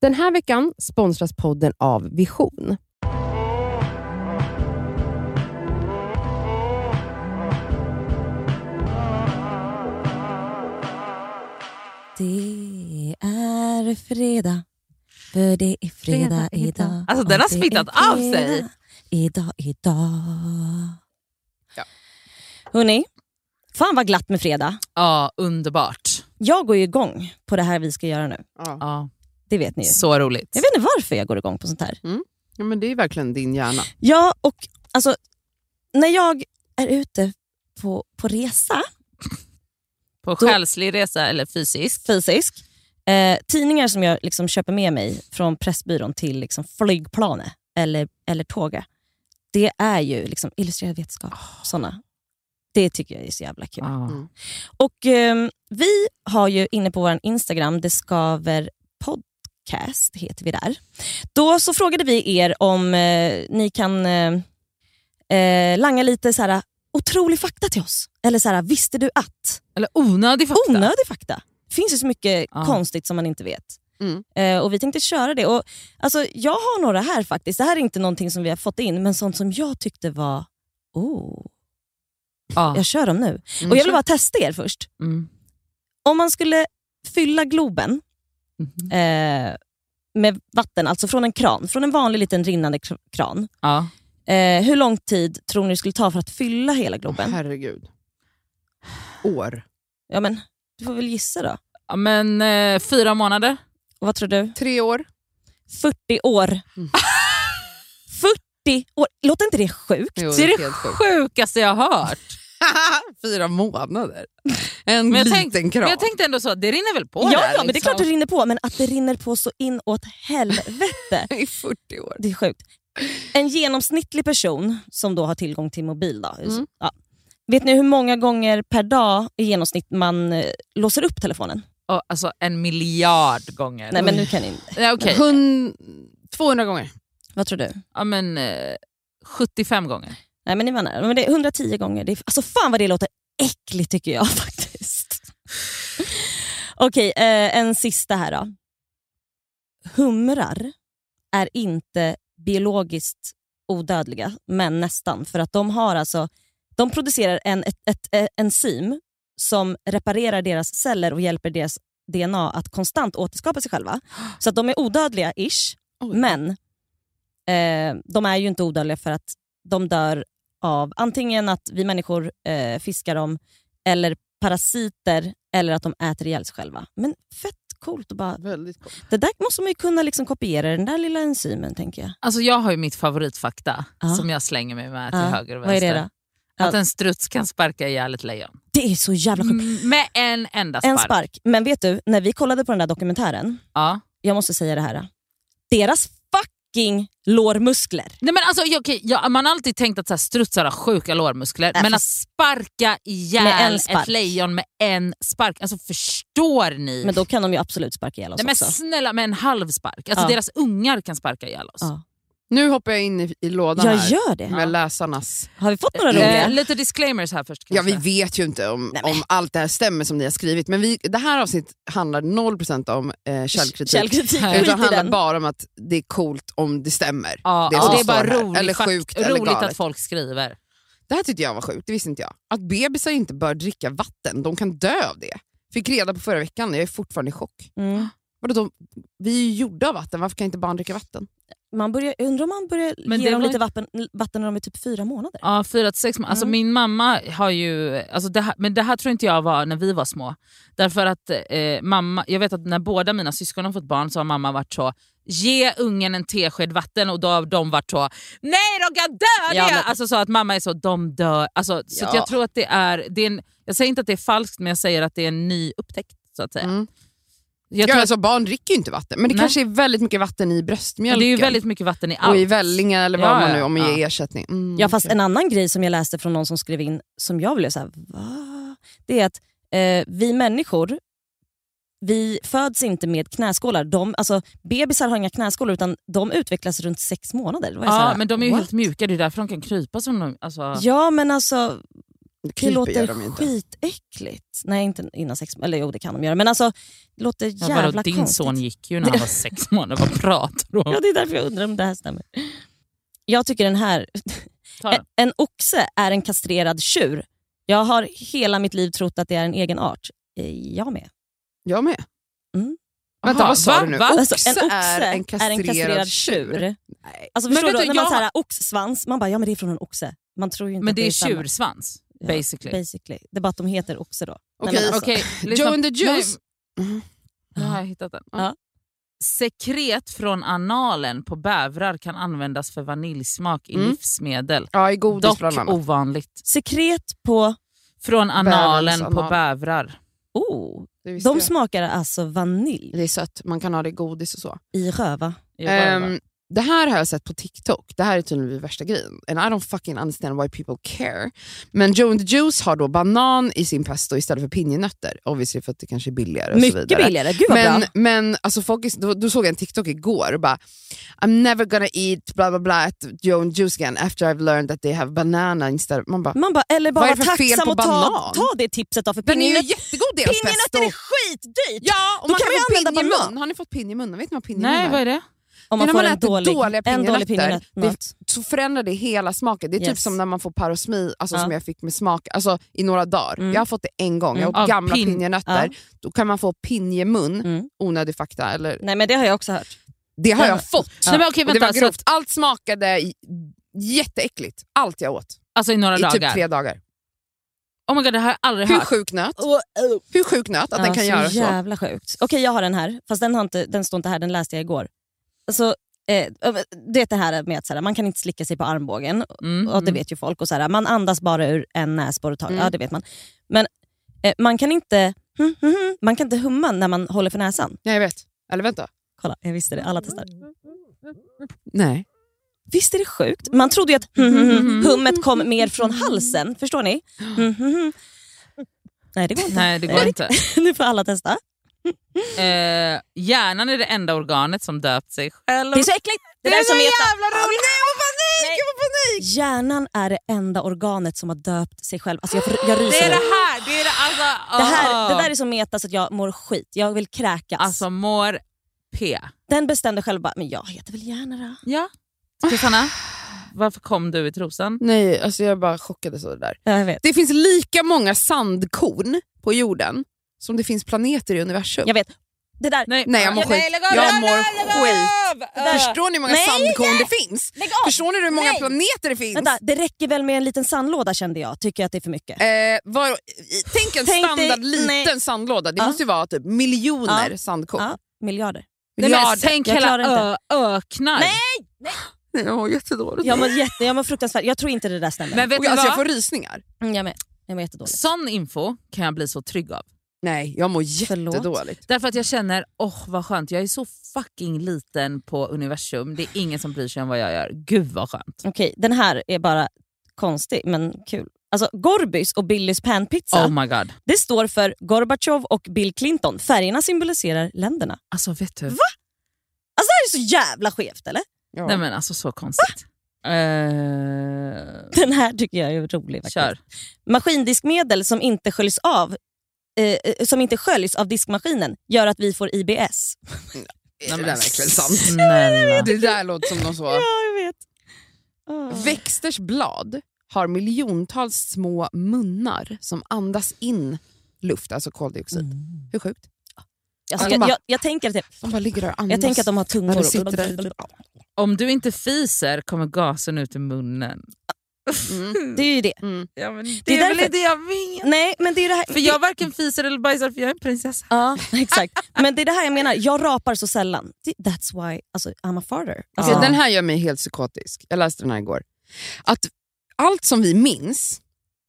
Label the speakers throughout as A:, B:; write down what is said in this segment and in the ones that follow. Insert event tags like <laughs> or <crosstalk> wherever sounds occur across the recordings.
A: Den här veckan sponsras podden av Vision.
B: Det är fredag, för det är fredag,
A: Fredag idag.
B: idag.
C: Alltså, den har
B: Och det
C: smittat
B: är
C: av sig.
B: fredag Idag, idag.
C: Ja.
B: Hörni, fan vad glatt med fredag.
C: Ja, underbart.
B: Jag går ju igång på det här vi ska göra nu.
A: Ja.
C: Ja,
B: Det vet ni ju.
C: så roligt.
B: Jag vet inte varför jag går igång på sånt här.
A: ja, men det är verkligen din hjärna.
B: Ja, och alltså, när jag är ute på, på resa,
C: På
B: Då-
C: själslig resa eller fysisk.
B: fysisk, eh, tidningar som jag liksom köper med mig från Pressbyrån till liksom flygplanet eller, eller tåget, det är ju liksom illustrerad vetenskap. Såna. Det tycker jag är så jävla kul.
C: Ja.
A: Mm.
B: Och ehm, Vi har ju inne på vår Instagram, det skaver podcast heter vi där. Då så frågade vi er om eh, ni kan eh, eh, langa lite så här, otrolig fakta till oss. Eller så här, visste du att?
C: Eller onödig fakta.
B: Onödig fakta. Det finns ju så mycket
C: Ja.
B: konstigt som man inte vet.
A: Mm.
B: Eh, och Vi tänkte köra det. Och, alltså, jag har några här faktiskt. Det här är inte någonting som vi har fått in, men sånt som jag tyckte var... Oh,
C: Ja.
B: jag kör dem nu.
A: Mm.
B: och Jag vill bara testa er först.
C: Mm.
B: Om man skulle fylla Globen
C: Mhm.
B: eh, med vatten, alltså från en kran, från en vanlig liten rinnande kr- kran.
C: Ja.
B: Eh, hur lång tid tror ni det skulle ta för att fylla hela Globen?
A: Herregud. År.
B: Ja, men, du får väl gissa då.
C: Ja, Men eh, fyra månader?
B: Och vad tror du?
A: Tre år.
B: 40 år. <laughs>
A: Mm.
B: 40 år! Låter inte det sjukt?
A: Jo,
C: Det är det
A: helt sjukt.
C: sjukaste jag har
B: <laughs>
C: hört.
A: <laughs> Fyra månader. En
C: Men jag
A: liten
C: tänkte-
A: kran.
C: Men jag tänkte ändå så, det rinner väl på
B: Ja,
C: där?
B: ja, men det är
C: liksom.
B: klart det rinner på, men att det rinner på så inåt helvete.
A: I 40 år.
B: Det är sjukt. En genomsnittlig person som då har tillgång till mobil. Då,
A: Mm.
B: ja. Vet ni hur många gånger per dag i genomsnitt man eh, låser upp telefonen?
C: Ja, alltså en miljard gånger.
B: Nej, men nu kan ni inte.
C: Ja, okej.
A: Hund... 200 gånger.
B: Vad tror du?
C: Ja, men, eh, 75 gånger.
B: Nej, men ni var nära. Men det är 110 gånger. Det är, alltså fan vad det låter äckligt tycker jag <laughs> faktiskt. Okej, eh, en sista här då. Humrar är inte biologiskt odödliga, men nästan. För att de har alltså, de producerar en, ett, ett, eh, enzym som reparerar deras celler och hjälper deras DNA att konstant återskapa sig själva. Så att de är odödliga-ish,
A: Oj.
B: men eh, de är ju inte odödliga för att de dör av antingen att vi människor eh, fiskar dem, eller parasiter, eller att de äter ihjäl sig själva. Men fett coolt att bara...
A: Väldigt coolt.
B: Det där måste man ju kunna liksom kopiera, den där lilla enzymen tänker jag.
C: Alltså, jag har ju mitt favoritfakta
B: Ja.
C: som jag slänger mig med till
B: Ja.
C: höger och
B: Vad är
C: vänster.
B: det då?
C: Att
B: Ja.
C: en struts kan sparka ihjäl ett lejon.
B: Det är så jävla sjukt.
C: M- Med en enda
B: En
C: Mm. spark.
B: spark. Men vet du, när vi kollade på den där dokumentären,
C: Ja.
B: jag måste säga det här. Deras fucking lårmuskler.
C: Nej, men alltså, ja, okej, ja, man har alltid tänkt att så här, strutsar har sjuka lårmuskler,
B: Nej,
C: men att
B: fast-
C: sparka
B: Med en
C: ihjäl
B: spark.
C: ett lejon med en spark, alltså förstår ni?
B: Men då kan de ju absolut sparka ihjäl oss
C: Nej, men
B: också.
C: snälla, med en halv spark. Alltså,
B: Ja.
C: Deras ungar kan sparka ihjäl oss.
B: Ja.
A: Nu hoppar jag in i, i lådan
B: Jag
A: här.
B: gör det.
A: Med läsarnas...
B: Har vi fått några
C: Eh,
B: roliga?
C: lite disclaimers här först.
A: Ja,
C: Kanske.
A: vi vet ju inte om,
B: Nej, men-
A: om allt det här stämmer som ni har skrivit, men vi, det här avsnittet handlar 0% om eh, källkritik.
B: Källkritik,
A: Utan
B: skit
A: det
B: i
A: handlar
B: den.
A: bara om att det är coolt om det stämmer.
C: Ja,
A: det
C: det,
A: som
C: och det är
A: står
C: bara
A: här.
C: roligt,
A: Eller
C: fakt-
A: sjukt eller
C: roligt
A: galet.
C: att folk skriver.
A: Det här tyckte jag var sjukt, det visste inte jag. Att bebisar inte bör dricka vatten, de kan dö av det. Fick reda på förra veckan, jag är fortfarande i chock.
B: Mm.
A: Vadå, de, vi är ju gjorda av vatten, varför kan inte barn dricka vatten?
B: Man börjar, jag undrar om man börjar
C: Men
B: ge
C: det
B: dem
C: var
B: lite vatten, vatten när de är typ fyra månader.
C: Ja, fyra till sex månader. Alltså,
B: Mm.
C: Min mamma har ju... Alltså det här, men det här tror inte jag var när vi var små. Därför att eh, mamma, Jag vet att när båda mina syskon har fått barn så har mamma varit så Ge ungen en tesked vatten och då har de varit så Nej de kan dö!
B: Ja,
C: det!"
B: men-
C: Alltså så att mamma är så de dör. Alltså, så att
A: Ja.
C: jag tror att det är, det är en, Jag säger inte att det är falskt men jag säger att det är en ny upptäckt. Så att säga.
A: Mm.
C: Jag
A: Ja,
C: tror att,
A: alltså, barn dricker ju inte vatten, men det
C: Nej.
A: kanske är väldigt mycket vatten i bröstmjölken.
C: det är ju väldigt mycket vatten i
A: och
C: allt.
A: i vällingar eller vad
C: Ja,
A: man
C: ja,
A: nu, om man
C: ja.
A: ger ersättning. Mm,
B: Ja, fast
A: okej.
B: en annan grej som jag läste från någon som skrev in, som jag blev så här, va? Det är att eh, vi människor, vi föds inte med knäskålar. De, alltså, bebisar har inga knäskålar utan de utvecklas runt sex månader. Det var jag så
C: ja,
B: här,
C: men de är ju
B: what?
C: helt mjuka, det är därför de kan krypa som de... Alltså,
B: Ja, men alltså
A: Det
B: Det
A: kryper gör de ju
B: låter
A: inte.
B: skitäckligt. Nej, inte innan sex Eller jo, det kan de göra. Men alltså, det låter
C: Ja,
B: jävla
C: vadå,
B: konstigt.
C: din son gick ju när han var sex månader, vad pratar du om?
B: Ja, det är därför jag undrar om det här stämmer. Jag tycker den här...
C: Ta
B: En,
C: den.
B: en oxe är en kastrerad tjur. Jag har hela mitt liv trott att det är en egen art. Eh, Jag med.
A: Jag med.
B: Mm.
A: Vänta,
C: Aha,
A: vad sa
C: va?
A: du nu?
C: Va?
A: Oxe,
B: Alltså, en oxe
A: är en kastrerad,
B: tjur.
A: Nej.
B: Alltså,
C: Men
B: förstår
C: vet
B: du,
C: du,
B: när man
C: jag-
B: säger oxsvans, man bara ja men det är från en oxe. Man tror ju inte
C: Men
B: att
C: det är
B: samma.
C: tjursvans,
B: Ja,
A: liksom.
C: basically.
B: basically. Det är bara att de heter oxe då.
A: Okej,
B: men alltså-
C: Okej, lyssna-
A: Joe and the
C: Nej,
A: Juice.
C: Nu har jag hittat den.
B: Ja.
C: Sekret från analen på bävrar kan användas för vaniljsmak i
A: Mm.
C: livsmedel.
A: Ja, i godis
C: Dock
A: bland annat.
C: ovanligt.
B: Sekret på...
C: Från analen
A: Bäverns
C: på
A: anal.
C: bävrar.
B: Oh,
A: Det visste
B: de
A: jag.
B: smakar alltså vanilj
A: det är sött, man kan ha det i godis och så.
B: i röva.
C: Jag bara,
A: Ehm, det här har jag sett på TikTok. Det här är tydligen det värsta grejen. And I don't fucking understand why people care. Men Joe and the Juice har då banan i sin pesto istället för pinjenötter. Obviously för att det kanske är billigare. Och så
B: Mycket
A: vidare.
B: billigare, gud vad
A: Men,
B: bra.
A: men alltså folk, är- då, då såg jag en TikTok igår och bara I'm never gonna eat bla bla bla at Joe and Juice again after I've learned that they have banana instead. Man bara,
B: Man bara, eller bara
A: Vad är
B: vara
A: det för fel
B: tacksam
A: på
B: och ta,
A: banan?
B: ta det tipset då, för
A: den är ju
B: pinjenöt-
A: jättegod deras
B: pinjenötter är
A: pesto.
B: skitdyrt!
A: Ja, och
B: Då
A: man
B: kan
A: kan
B: man ju
A: få pinje
B: använda
A: i
B: banan.
A: mun. Har ni fått pinje i munnen? Vet ni vad pinje i
C: Nej,
A: munnen
C: vad är det?
B: Om
A: Det är
B: man
A: när
B: får
A: man
B: en
A: äter
B: dålig,
A: dåliga
B: en dålig
A: pinjenötter.
B: pinjenöt.
A: så förändrar det hela smaken. Det är typ
B: Yes.
A: som när man får parosmi, alltså
B: Ja.
A: som jag fick med smak alltså, i några dagar.
B: Mm.
A: Jag har fått det en gång, jag
B: Mm.
A: har åt
C: Av
A: gamla
C: pin-
A: pinjenötter. Då kan man få pinjemun,
B: Mm.
A: onödig fakta. Eller,
B: Nej men det har jag också hört.
A: det har
B: Ja.
A: jag fått.
C: Nej, men okej,
A: Och det
C: vänta,
A: var
C: så
A: grovt.
C: att,
A: Allt smakade j- jätteäckligt. Allt jag åt
C: alltså i några
A: i typ
C: dagar.
A: tre dagar.
C: Oh my god, det här Oh. har jag aldrig
A: Hur
C: hört.
A: sjuk nöt? Hur sjuk nöt att den kan
B: så
A: göra så?
B: jävla sjukt. Okej, jag har den här. Fast den, har inte, den står inte här, den läste jag igår. Alltså, eh, du vet det här med att så här, man kan inte slicka sig på armbågen.
C: Mm.
B: Ja, det vet ju folk. Och så här, man andas bara ur en näsborre och tar-
A: Mm.
B: Ja, det vet man. Men eh, man, kan inte, <laughs> mm, mm, mm, man kan inte humma när man håller för näsan.
A: Nej, jag vet. Eller vänta.
B: Kolla, jag visste det. Alla testar.
A: Nej.
B: Visst är det sjukt? Man trodde ju att mm, mm, mm, hummet kom mer från halsen. Förstår ni? Mm, mm, mm. Nej, det går inte.
C: Nej, det går inte.
B: <laughs> nu får alla testa.
C: Eh, hjärnan är det enda organet som döpt sig själv.
B: Det är så äckligt! Det, där som heter-
A: roligt! Nej, vad panik!
B: Nej.
A: jag får panik!
B: Hjärnan är det enda organet som har döpt sig själv. Alltså jag, får- jag
C: Det
B: ryser. nu.
C: är det här! Det, är det, alltså,
B: det, här,
C: åh.
B: det där är så meta så att jag mår skit. Jag vill kräkas.
C: Alltså mår P.
B: Den bestämde själv bara, men jag heter väl hjärna då?
C: Ja. Susanna, varför kom du i trosan?
A: Nej, alltså jag bara chockades av det där.
B: Ja, jag vet.
A: Det finns lika många sandkorn på jorden som det finns planeter i universum.
B: Jag vet. Det där,
A: Nej, jag mår skit.
C: lägg av,
A: Jag
C: lägg av,
A: mår
C: lägg av!
B: där.
A: Förstår ni hur många
B: Äh, Nej,
A: sandkorn det finns?
B: Lägg av!
A: Förstår ni hur många
B: Nej.
A: planeter det finns?
B: Vänta, det räcker väl med en liten sandlåda kände jag. Tycker jag att det är för mycket.
A: Eh, var, tänk en
B: Tänk dig-
A: standard
B: nej.
A: liten sandlåda. Det
B: Ja.
A: måste ju vara typ miljoner
B: Ja.
A: sandkorn.
B: Ja, miljarder.
C: Nej, men,
A: Miljarder.
C: tänk
B: Jag
C: hela
B: klarar
C: ö, öknar.
B: Nej!
A: Nej, Jag mår jättedåligt.
B: Jag mår, jätte, jag mår fruktansvärt. Jag tror inte det där stämmer.
C: Men vet
A: Och
C: du
A: jag, alltså, jag
C: vad?
A: får rysningar.
B: Mm, jag med. Jag mår jättedåligt.
C: Sån info kan jag bli så trygg av.
A: Nej, jag mår
B: Förlåt?
A: jättedåligt.
C: Därför att jag känner, åh vad skönt, jag är så fucking liten på universum. Det är ingen som bryr sig om vad jag gör. Gud vad skönt.
B: Okej, den här är bara konstig men kul. Alltså Gorbys och Billys panpizza.
C: Oh my god.
B: Det står för Gorbachev och Bill Clinton. Färgerna symboliserar länderna.
C: Alltså vet du?
B: Alltså det här är så jävla skevt eller? <laughs>
A: Ja.
C: Nej men alltså så konstigt. Eh,
B: Den här tycker jag är rolig. Faktiskt.
C: kör.
B: Maskindiskmedel som inte sköljs av eh, eh, som inte sköljs av diskmaskinen gör att vi får IBS.
A: det där är verkligen sant.
C: Snälla.
A: Det där låter som någon så.
B: jag vet. Ah.
A: Växters blad har miljontals små munnar som andas in luft, alltså koldioxid.
B: Mm.
A: Hur sjukt?
B: Alltså,
A: De
B: jag,
A: bara-
B: jag, jag tänker att det,
A: De bara ligger där och andas.
B: jag tänker att de har
A: när
B: tungor.
A: det
B: och-
A: sitter där.
C: Om du inte fiser kommer gasen ut ur munnen.
A: Mm.
B: Det är ju det.
C: Ja, men det,
B: Det är
C: är väl
B: därför-
C: det jag vet.
B: Nej, men det är det här.
C: För jag varken fiser eller bajsar för jag är en prinsessa.
B: Ja, <laughs> exakt. Men det är det här jag menar. Jag rapar så sällan. Det- That's why alltså, I'm a farter. Alltså,
A: Okej, Den här gör mig helt psykotisk. Jag läste den här igår. Att allt som vi minns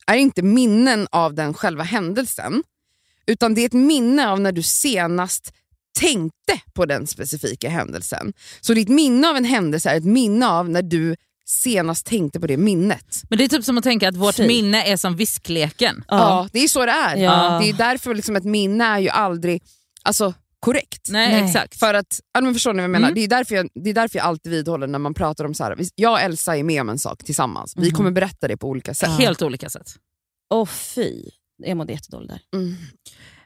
A: är inte minnen av den själva händelsen, utan det är ett minne av när du senast tänkte på den specifika händelsen. Så ditt minne av en händelse är ett minne av när du senast tänkte på det minnet.
C: Men det är typ som att tänka att vårt
B: Fy.
C: minne är som viskleken.
A: Ja, det är så det är.
B: Ja.
A: Det är därför liksom ett minne är ju aldrig alltså, korrekt.
C: Nej,
B: Nej.
C: exakt.
A: För att, ja, men förstår ni vad jag menar?
C: Mm.
A: Det, är därför jag, det är därför jag alltid vidhåller när man pratar om så här, vi- jag och Elsa är med om en sak tillsammans. Vi
B: Mhm.
A: kommer berätta det på olika sätt.
B: Ja.
C: Helt olika sätt.
B: Åh fy, jag mådde jättedåligt där.
A: Mm.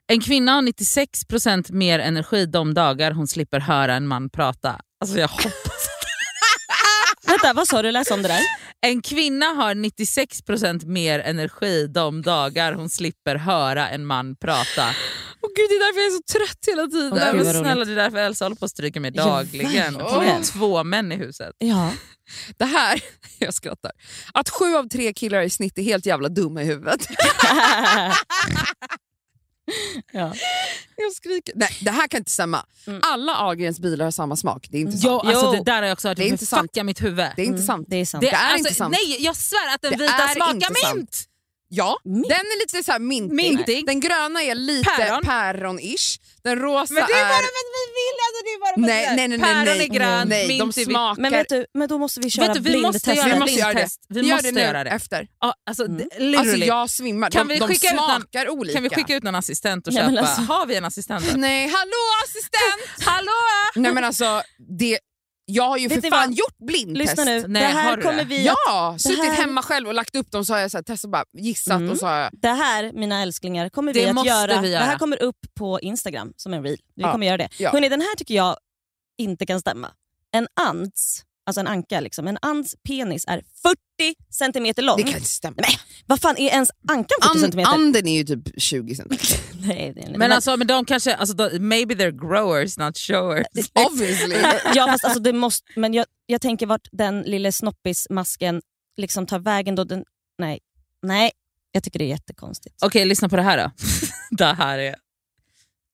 C: En kvinna har 96% mer energi de dagar hon slipper höra en man prata. Alltså jag hoppas.
B: Vänta, vad sa du? Läs om det där.
C: En kvinna har 96% mer energi de dagar hon slipper höra en man prata.
A: Åh gud, det är därför jag är så trött hela tiden.
B: Åh,
C: Nej,
B: gud,
C: men
B: vad roligt.
C: snälla, det är därför Elsa håller på och stryker mig
B: Ja,
C: dagligen.
B: verkligen.
C: Hon är två män i huset.
B: Ja.
A: Det här, <laughs> jag skrattar. Att sju av tre killar i snitt är helt jävla dumma i huvudet.
B: ja.
A: <laughs> Jag skriker. Nej, det här kan inte stämma.
B: Mm.
A: Alla Ahlgrens bilar har samma smak. Det är inte sant.
C: Ja, alltså,
B: Jo.
C: det där har jag också hört.
A: Det är
C: Det
A: inte sant.
C: fucka mitt huvud. alltså,
A: Det är inte sant.
B: Det är sant.
A: Det alltså, är inte sant.
C: Nej, jag svär att den
A: Det
C: vita
A: är inte
C: smakar
A: sant.
C: mint!
A: Ja,
B: Mint.
A: den är lite så här mintig.
C: Mintig.
A: Den gröna är lite
C: Päron.
A: päron-ish. Den rosa
C: Men det är bara
A: är...
C: för att vi vill! Alltså, det är bara för att
A: Nej,
C: vi vill.
A: nej, nej, nej,
C: Päron
A: nej.
C: är grönt,
A: Nej,
C: mint
A: de
C: är vitt.
A: smakar...
B: Men vet du, men då måste vi köra
C: Vet du, vi måste
B: blindtestet.
C: göra
A: Vi måste göra det.
C: blindtest. Vi
A: Gör
C: måste
A: det nu,
C: göra det.
A: efter.
C: Ja, alltså,
B: Mm.
C: d-
A: Alltså
C: literally.
A: jag svimmar.
C: Kan
A: de,
C: vi
A: de
C: skicka ut någon-
A: smakar olika.
C: Kan vi skicka ut någon assistent och
B: Nej,
C: köpa?
B: men alltså-
C: Har vi en assistent?
A: <laughs>
C: här?
A: Nej, hallå
C: <laughs>
A: assistent!
C: Hallå!
A: Nej men alltså, det, jag har ju
B: Vet
A: för
B: ni
A: fan
B: vad?
A: gjort blindtest.
B: Lyssna nu,
C: Nej,
B: det
C: har
B: här
C: du
B: kommer
C: det?
B: vi att,
A: Ja, suttit
B: här-
A: hemma själv och lagt upp dem så har jag så här, testat bara gissat
B: Mm.
A: och så har jag,
B: det här mina älsklingar kommer
C: Det
B: vi att
C: måste
B: göra.
C: vi
B: Det här
C: göra.
B: kommer upp på Instagram som en reel. Vi
A: Ja.
B: kommer göra det.
A: Ja.
B: Hörrni, den här tycker jag inte kan stämma. En ants, alltså en anka liksom, en ants penis är 40 centimeter lång.
A: det kan inte stämma.
B: Vad fan är ens ankan 40
A: An,
B: centimeter?
A: anden är ju typ 20
C: <laughs>
A: centimeter.
B: Nej, det är den inte.
C: Men alltså, men de kanske, alltså, de, maybe they're growers not showers.
A: Obviously.
B: ja, fast alltså det måste, men jag, jag tänker vart den lille snoppismasken liksom tar vägen då. Den, nej, nej, jag tycker det är jättekonstigt.
C: Okej, lyssna på det <laughs> här då. det här är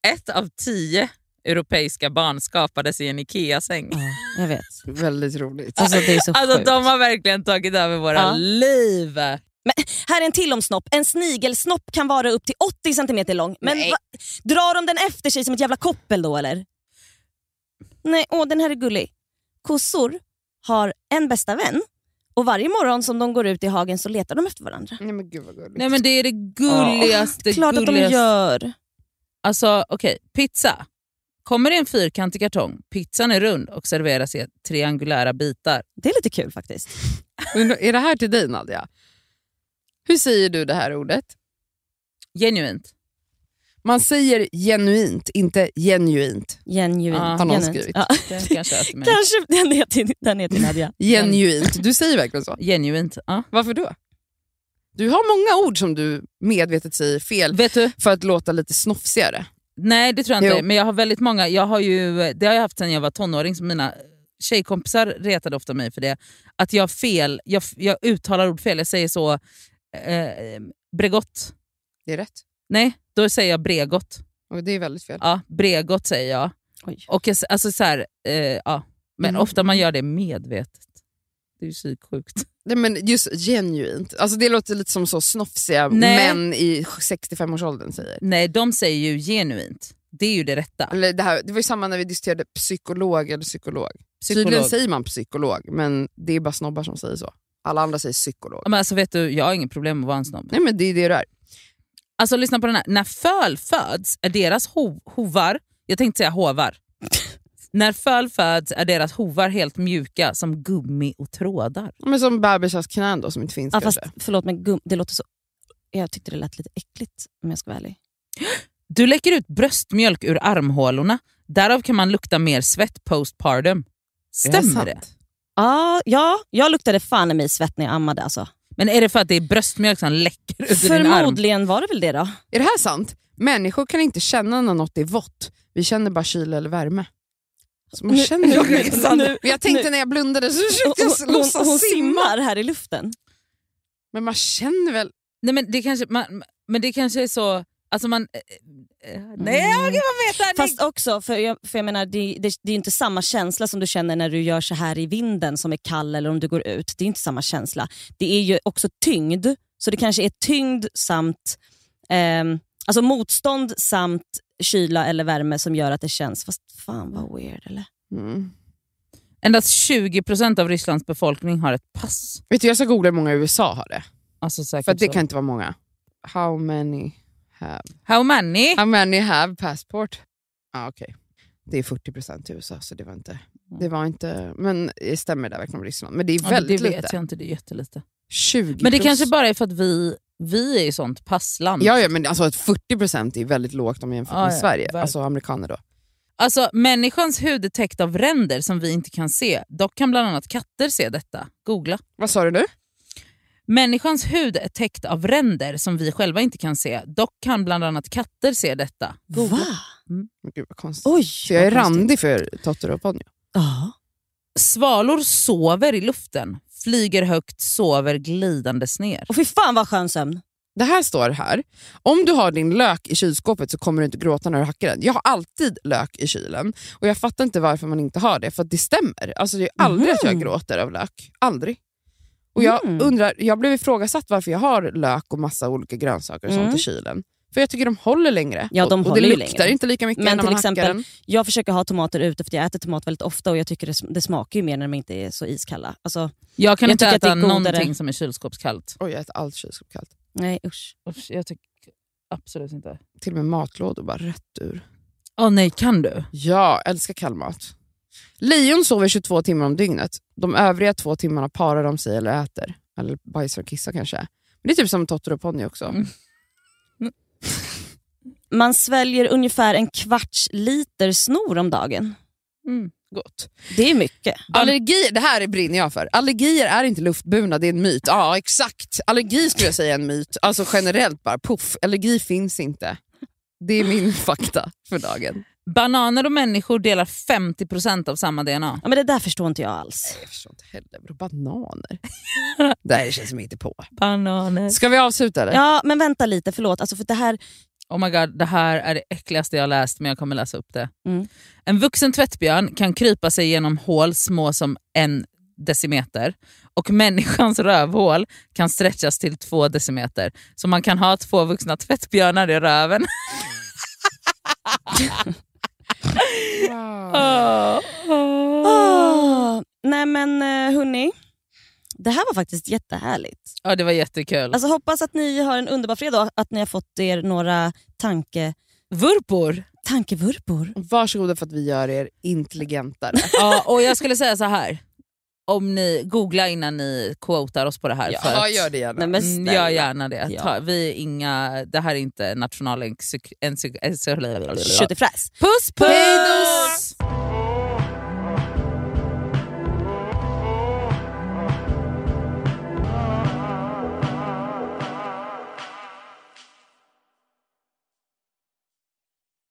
C: ett av tio europeiska barn skapades i en IKEA-säng.
B: Jag vet.
A: Väldigt roligt.
B: Alltså det är så
C: Alltså
B: sjukt.
C: de har verkligen tagit över våra
B: Ja.
C: liv.
B: Här är en till om snopp. En snigelsnopp kan vara upp till 80 centimeter lång. Men
A: Nej.
B: va, drar de den efter sig som ett jävla koppel då eller? Nej, åh den här är gullig. Kossor har en bästa vän och varje morgon som de går ut i hagen så letar de efter varandra.
A: Nej men gud vad gulligt.
C: Nej men det är det gulligaste.
B: Klart att de
C: gulligaste.
B: gör.
C: Alltså okej, pizza. Kommer i en fyrkantig kartong, pizzan är rund och serveras i triangulära bitar.
B: Det är lite kul faktiskt.
A: Undrar, Är det här till dig Nadja? Hur säger du det här ordet?
C: Genuint.
A: Man säger genuint, inte genuint.
B: Genuint.
C: Ja,
A: har någon
B: Genuint.
A: skrivit.
B: <laughs> Ja.
C: Den kanske är
B: <laughs>
C: till mig.
B: Kanske den är till, den är till Nadja.
A: Genuint. Du säger verkligen så.
C: Genuint. Ja.
A: Varför då? Du har många ord som du medvetet säger fel
C: Vet du?
A: för att låta lite snofsigare.
C: Nej det tror jag inte,
A: Jo.
C: men jag har väldigt många. Jag har ju, det har jag haft sedan jag var tonåring, så mina tjejkompisar retade ofta mig för det. Att jag fel, jag, jag uttalar ord fel. Jag säger så, eh, bregott.
A: Det är rätt.
C: Nej, då säger jag bregott.
A: Och det är väldigt fel.
C: Ja, bregott säger jag.
B: Oj.
C: Och jag, alltså så här, eh, ja. Men
A: Mm.
C: ofta man gör det medvetet. Det är ju psyksjukt.
A: Nej, men just genuint. Alltså, det låter lite som så snofsiga
C: Nej.
A: män i 65-årsåldern säger.
C: Nej, de säger ju genuint. Det är ju det rätta.
A: Eller det, här, det var ju samma när vi diskuterade psykolog eller psykolog.
C: Psykolog.
A: Tydligen säger man psykolog, men det är bara snobbar som säger så. Alla andra säger psykolog.
C: Ja, Men alltså, vet du, jag har inget problem med att vara en snobb.
A: Nej men det är det det är.
C: Alltså lyssna på den här. När föl föds är deras ho- hovar, jag tänkte säga <laughs> hovar. När föl föds är deras hovar helt mjuka som gummi och trådar.
A: Men som bebisars knän då som inte finns
B: Ja, fast,
A: kanske.
B: förlåt men gum, det låter så... Jag tyckte det lät lite äckligt om jag ska vara ärlig.
C: Du läcker ut bröstmjölk ur armhålorna. Därav kan man lukta mer svett postpartum. Stämmer det?
B: Ah, ja, jag luktade fan i mig svett när jag ammade alltså.
C: Men är det för att det är bröstmjölk som läcker ut ur din arm?
B: Förmodligen var det väl det då.
A: Är det här sant? Människor kan inte känna när något är vått. Vi känner bara kyla eller värme. Så man
B: Nu-
A: känner ju
B: nu-
A: verkligen
B: nu-
A: sant.
B: nu-
A: Men jag tänkte
B: nu-
A: när jag blundade så försökte
B: Hon,
A: jag
B: hon,
A: låtsas
B: hon
A: simma.
B: simmar här i luften.
A: Men man känner väl...
C: Nej, men, det kanske, man, men det kanske är så... Alltså man... eh, eh, Nej, jag kan veta.
B: Fast också, för jag, för jag menar, det, det, det är ju inte samma känsla som du känner när du gör så här i vinden som är kall eller om du går ut. Det är inte samma känsla. Det är ju också tyngd, så det kanske är tyngd samt ehm, alltså motstånd samt kyla eller värme som gör att det känns. Fast fan vad weird eller?
A: Mm.
C: Endast 20% av Rysslands befolkning har ett pass.
A: Vet du, jag ska googla hur många i USA har det.
C: Alltså säkert
A: För att det
C: så.
A: kan inte vara många. How many have... <laughs>
C: How many?
A: How many have passport? Ah, okay. Det är 40 procent i USA, så det var inte... Det var inte men eh, det stämmer där verkligen med Ryssland. Men det är
C: Ja, det
A: väldigt
C: vet
A: lite.
C: jag inte, det är jättelite.
A: 20
C: Men det
A: plus.
C: kanske bara är för att vi Vi är ju sånt passland.
A: Ja, ja, men alltså att 40% är väldigt lågt om man jämför
C: Ja,
A: med
C: ja,
A: Sverige.
C: verkligen.
A: Alltså amerikaner då.
C: Alltså, människans hud är täckt av ränder som vi inte kan se. Dock kan bland annat katter se detta. Googla.
A: Vad sa du nu?
C: Människans hud är täckt av ränder som vi själva inte kan se. Dock kan bland annat katter se detta. Googla.
B: Va?
A: Men Gud vad konstigt.
B: Oj!
A: Så jag är
B: vad konstigt.
A: randig för Totter och Ponyo.
B: Ja.
C: Svalor sover i luften, flyger högt, sover glidandes ner.
B: Och fy fan vad skön sömn.
A: Det här står här. Om du har din lök i kylskåpet så kommer du inte gråta när du hackar den. Jag har alltid lök i kylen och jag fattar inte varför man inte har det, för att det stämmer. Alltså det är aldrig att jag
B: Mhm.
A: gråter av lök. Aldrig. Och jag
B: Mm.
A: undrar, jag blev ifrågasatt varför jag har lök och massa olika grönsaker och sånt
B: Mm.
A: i kylen. För jag tycker de håller längre.
B: Ja, de
A: och, och
B: håller
A: det
B: ju
A: luktar
B: längre.
A: inte lika mycket
B: Men
A: när
B: till
A: man
B: exempel-
A: hackar den.
B: Jag försöker ha tomater ute för att jag äter tomat väldigt ofta och jag tycker det, det smakar ju mer när de inte är så iskalla. Alltså,
C: Jag kan
B: Jag
C: inte
B: tycker att det
C: äta
B: är godare.
C: någonting som är kylskåpskallt.
A: Oj, jag äter allt kylskåpskallt.
B: nej usch.
C: Usch, jag tycker absolut inte.
A: Till och med matlådor bara rätt ur.
C: Åh nej, kan du?
A: Ja, älskar kall mat. Lejon sover 22 timmar om dygnet. De övriga två timmarna parar de sig eller äter. Eller bajsar och kissar kanske. Men det är typ som Totter och Pony också.
C: Mm.
B: Man sväljer ungefär en kvarts liter snor om dagen.
C: Mm.
A: Gott.
B: Det är mycket.
A: Allergier, det här brinner jag för. Allergier är inte luftburna, det är en myt. Ja, exakt. Allergi skulle jag säga är en myt. Alltså generellt bara, puff. Allergi finns inte. Det är min fakta för dagen.
C: Bananer och människor delar 50% av samma DNA.
B: Ja, men det där förstår inte jag alls.
A: Jag förstår inte heller. Vadå bananer? det här känns som inte på.
C: Bananer.
A: Ska vi avsluta eller?
B: Ja, men vänta lite, förlåt. Alltså, för det här,
C: Oh my god, det här är det äckligaste jag läst men jag kommer läsa upp det.
B: Mm.
C: En vuxen tvättbjörn kan krypa sig genom hål små som en decimeter och människans rövhål kan stretchas till två decimeter. Så man kan ha två vuxna tvättbjörnar i röven.
A: Wow.
C: Åh, åh.
B: Åh, nej men eh, hörni, det här var faktiskt jättehärligt.
C: Ja, det var jättekul.
B: Alltså hoppas att ni har en underbar fredag och att ni har fått er några tanke,
C: Vurpor!
B: tankevurpor.
A: Varsågoda för att vi gör er intelligentare.
C: <laughs> ja, och jag skulle säga så här. Om ni googlar innan ni quotar oss på det här. för
A: ja,
C: att-
A: gör det gärna.
B: Nej, men
C: Mm,
B: snälla.
C: Gör gärna det.
B: Ja.
C: Ta, vi är inga, det här är inte nationalencyklopedin.
B: Köttifräs.
C: Puss puss!
B: Hej då!